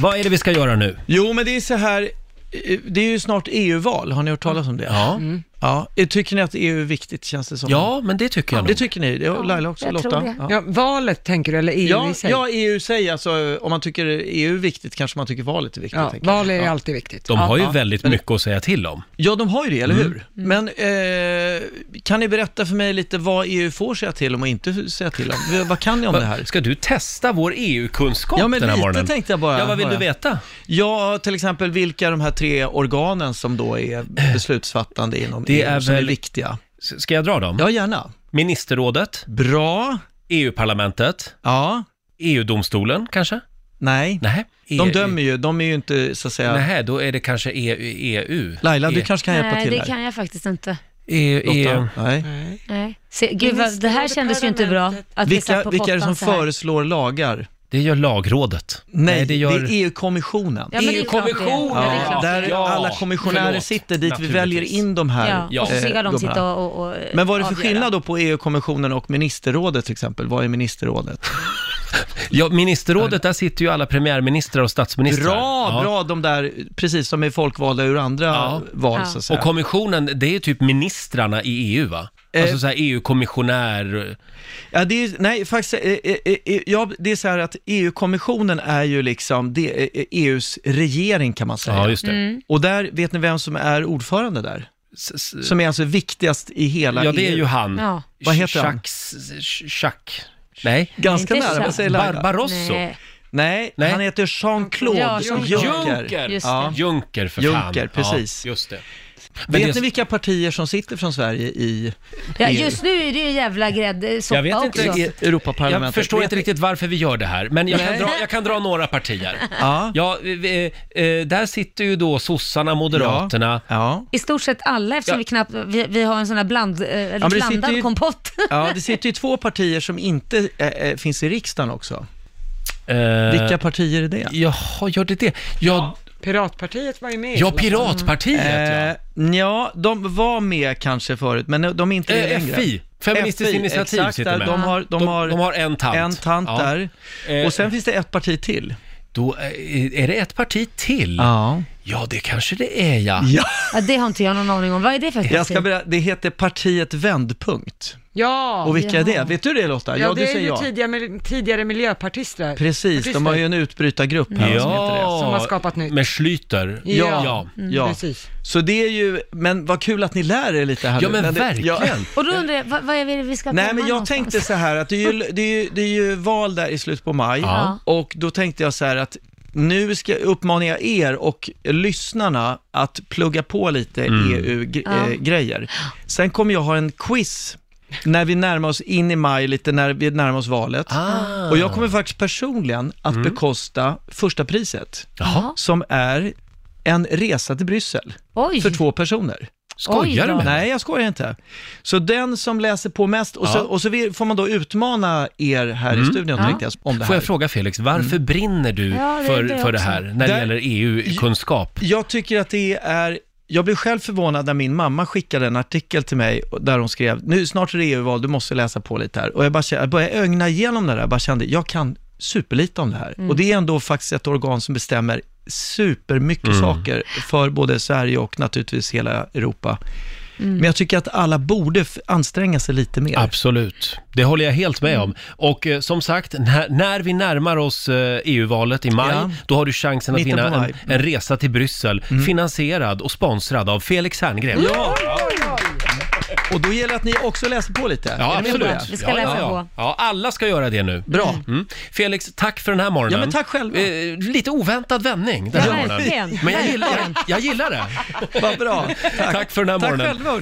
Vad är det vi ska göra nu? Jo, men det är så här, eh, det är ju snart EU-val, har ni hört talas om det? Ja, ja. eh, Tycker ni att EU är viktigt, känns det som? ja men det tycker jag Det nog. tycker ni? Det och Laila också, jag Lotta? tror det. Ja. Ja, valet tänker du, eller EU Ja, E i sig? ja, EU säger alltså, eh, om man tycker EU är viktigt kanske man tycker valet är viktigt. Ja, tänker jag. val är ja. alltid viktigt. De har ju ja. väldigt mycket att säga till om. ja, de har ju det, eller Mm. hur? Men eh, kan ni berätta för mig lite vad EU får säga till om och inte säga till om? V- Vad kan ni om det här? Ska du testa vår EU-kunskap Ja, men den här lite morgonen? tänkte jag bara. Ja, vad vill bara. du veta? Ja, till exempel vilka de här tre organen som då är beslutsfattande inom Eh, Det EU är som är väl- viktiga. S- Ska jag dra dem? Ja, gärna. Ministerrådet, E Bra. EU-parlamentet, Ja. EU-domstolen E kanske? Nej. Nej. E De dömer ju, de är ju inte så att säga... Nej, då är det kanske EU. EU. Laila, du E- kanske kan hjälpa Nej, till det här. kan jag faktiskt inte. EU, EU. Lotta? Nej. Nej. Nej. Se, gud, vad, det här kändes ju inte bra. Att vi satt Vilka, på vilka är det pottan som så här. föreslår lagar? Det gör lagrådet. Nej, det, det gör... är EU-kommissionen. Ja, men det är klart det är. EU-kommissionen! Ja, det är klart det är. där alla kommissionärer Förlåt, sitter, dit vi naturligtvis. väljer in de här Ja, och så Ja. ska eh, de sitta gubbarna. och, och, och Men vad är det för avgöra. skillnad då på EU-kommissionen och ministerrådet till exempel? Vad är ministerrådet? Ja, ministerrådet, där sitter ju alla premiärministrar och statsministrar. Bra, Ja. bra de där, precis som är folkvalda ur andra Ja. val Ja. så att säga. Och kommissionen, det är typ ministrarna i EU va? Eh, Alltså så här EU-kommissionär... Ja, det är, nej, faktiskt, eh, eh, eh, ja, det är så här att EU-kommissionen är ju liksom det, eh, EUs regering kan man säga. Ja, just det. Och där, vet ni vem som är ordförande där? S- s- Som är alltså viktigast i hela Ja, det EU. är ju han. Ja. E Vad heter han? Jacques- Jacques... Nej. Ganska Inte nära, sant. vad säger Laila? Barbarosso. Nej. Nej, Nej. han heter Jean-Claude Ja, Juncker. Juncker. Just Ja. Juncker för fan. Juncker, precis. Ja, just det. Men Vet det- ni vilka partier som sitter från Sverige i Ja, EU? just nu är det ju jävla gräddsoppa Jag vet också. inte, Europaparlamentet? jag förstår Vet inte ni- riktigt varför vi gör det här, men jag kan Nej. dra, jag kan dra några partier. Ja, Ja, vi- eh, eh, där sitter ju då sossarna, moderaterna, ja. I stort sett alla eftersom Ja. vi knappt, vi, vi har en sån här bland, eh, men det blandad sitter ju- kompott. ja, det sitter ju två partier som inte eh, eh, finns i riksdagen också. Eh, Vilka partier är det? Jaha, gör det det? Ja, Piratpartiet var ju med. i ja alla fall. Piratpartiet ja. Eh, ja, de var med kanske förut, men de är inte det Eh, längre. FI, Feministiskt FI, initiativ exakt, sitter där. med. De har, de har, de har en tant. en tant Ja. där. Eh, Och sen finns det ett parti till. Då eh, är det ett parti till. Ja. Ja, det kanske det är ja. ja. Ja, det har inte jag någon aning om. Vad är det för Jag ska parti? berätta, det heter partiet Vändpunkt. Ja, Och vilka är det? Ja. Vet du det Lotta? ja, det du är säger ju ja. tidigare, mil- tidigare miljöpartister. Precis, de har ju en utbrytargrupp här som heter det. Som har skapat nytt. Med Schlüter. Ja. Mm. ja. Ja. Precis. Så det är ju, men vad kul att ni lär er lite här Ja, nu. men det, ja. verkligen. Och då undrar jag, vad, vad är det vi ska Nej komma men jag någonstans? tänkte så här att det är ju, det är ju, det är ju val där i slutet på maj Ja. och då tänkte jag så här att nu ska, uppmanar jag er och lyssnarna att plugga på lite E Ja. EU-grejer. eh, Sen kommer jag ha en quiz när vi närmar oss in i maj, lite när vi närmar oss valet. Ah. Och jag kommer faktiskt personligen att Mm. bekosta första priset, Jaha, som är en resa till Bryssel Oj, för två personer. skojar du med Oj då. mig? Nej, jag skojar inte. Så den som läser på mest, och, så, Ja. Mm. och så vi- får man då utmana er här i studion Ja. tänkte jag, om det Får jag här. fråga Felix, varför Mm. brinner du Ja, det för, undrar jag för det också. här när det Där- gäller E EU-kunskap? Jag tycker att det är, jag blev själv förvånad när min mamma skickade en artikel till mig och- där hon skrev, nu snart är det EU-val, du måste läsa på lite här. Och jag, bara, kände- jag började ögna igenom det där, jag bara kände, jag kan superlite om det här. Och det är ändå faktiskt ett organ som bestämmer supermycket Mm. saker för både Sverige och naturligtvis hela Europa. Men jag tycker att alla borde f- anstränga sig lite mer. Absolut, det håller jag helt Mm. med om. Och eh, som sagt, när, när vi närmar oss eh, EU-valet i maj, Ja. då har du chansen att Mitten på vinna en, maj. Mm. en resa till Bryssel, finansierad och sponsrad av Felix Herngren. Ja! Och då gäller det att ni också läser på lite. Ja, Är ni med på absolut. det? Vi ska ja, läsa ja, ja. på. ja, alla ska göra det nu. Bra. Mm. Felix, tack för den här morgonen. Ja, men tack själva. Eh, lite oväntad vändning den här Ja, morgonen. verkligen. Men jag gillar, jag, jag gillar det. Vad bra. Tack för den här Tack morgonen. själva. hörni.